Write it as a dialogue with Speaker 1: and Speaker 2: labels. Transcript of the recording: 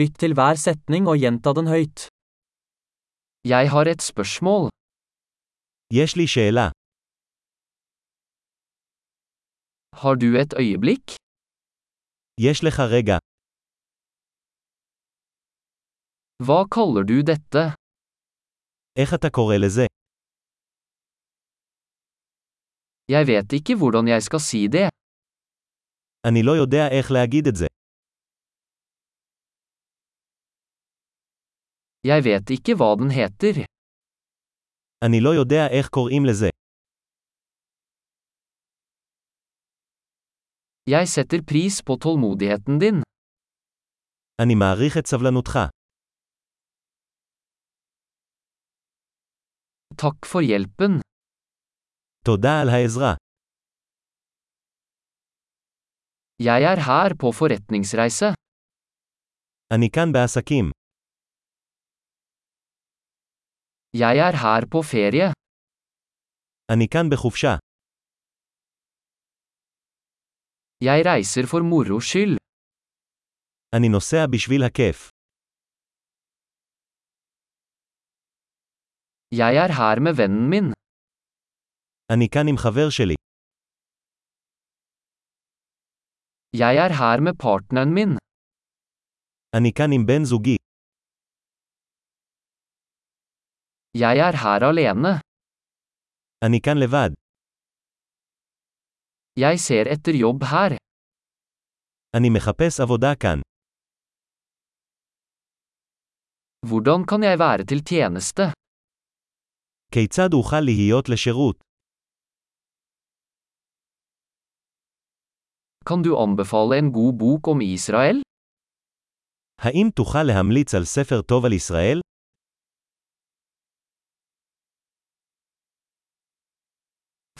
Speaker 1: Lytt til hver setning og gjenta den høyt. Jeg har et spørsmål.
Speaker 2: יש לי שאלה.
Speaker 1: Har du et øyeblikk?
Speaker 2: יש לך רגע.
Speaker 1: Hva kaller du dette?
Speaker 2: איך אתה קורא לזה?
Speaker 1: Jeg vet ikke hvordan jeg skal si det.
Speaker 2: אני לא יודע איך להגיד את זה.
Speaker 1: Jeg vet ikke hva den heter.
Speaker 2: אני לא יודע איך קוראים לזה.
Speaker 1: Jeg setter pris på tålmodigheten din.
Speaker 2: אני מעריך את סבלנותך.
Speaker 1: Takk for hjelpen.
Speaker 2: תודה על העזרה.
Speaker 1: Jeg er her på forretningsreise.
Speaker 2: אני כאן בעסקים.
Speaker 1: Jeg er her på ferie.
Speaker 2: אני כאן בחופשה.
Speaker 1: Jeg reiser for moro skyld.
Speaker 2: אני נוסע בשביל הכיף.
Speaker 1: Jeg er her med vennen min.
Speaker 2: אני כאן עם חבר שלי.
Speaker 1: Jeg er her med partneren min.
Speaker 2: אני כאן עם בן זוגי.
Speaker 1: Jeg er her alene.
Speaker 2: אני כאן לבד.
Speaker 1: Jeg ser etter jobb her.
Speaker 2: אני מחפש עבודה כאן.
Speaker 1: Hvordan kan jeg være til tjeneste?
Speaker 2: כיצד אוכל להיות לשירות?
Speaker 1: Kan du anbefale en god bok om Israel?
Speaker 2: האם תוכל להמליץ על ספר טוב על ישראל?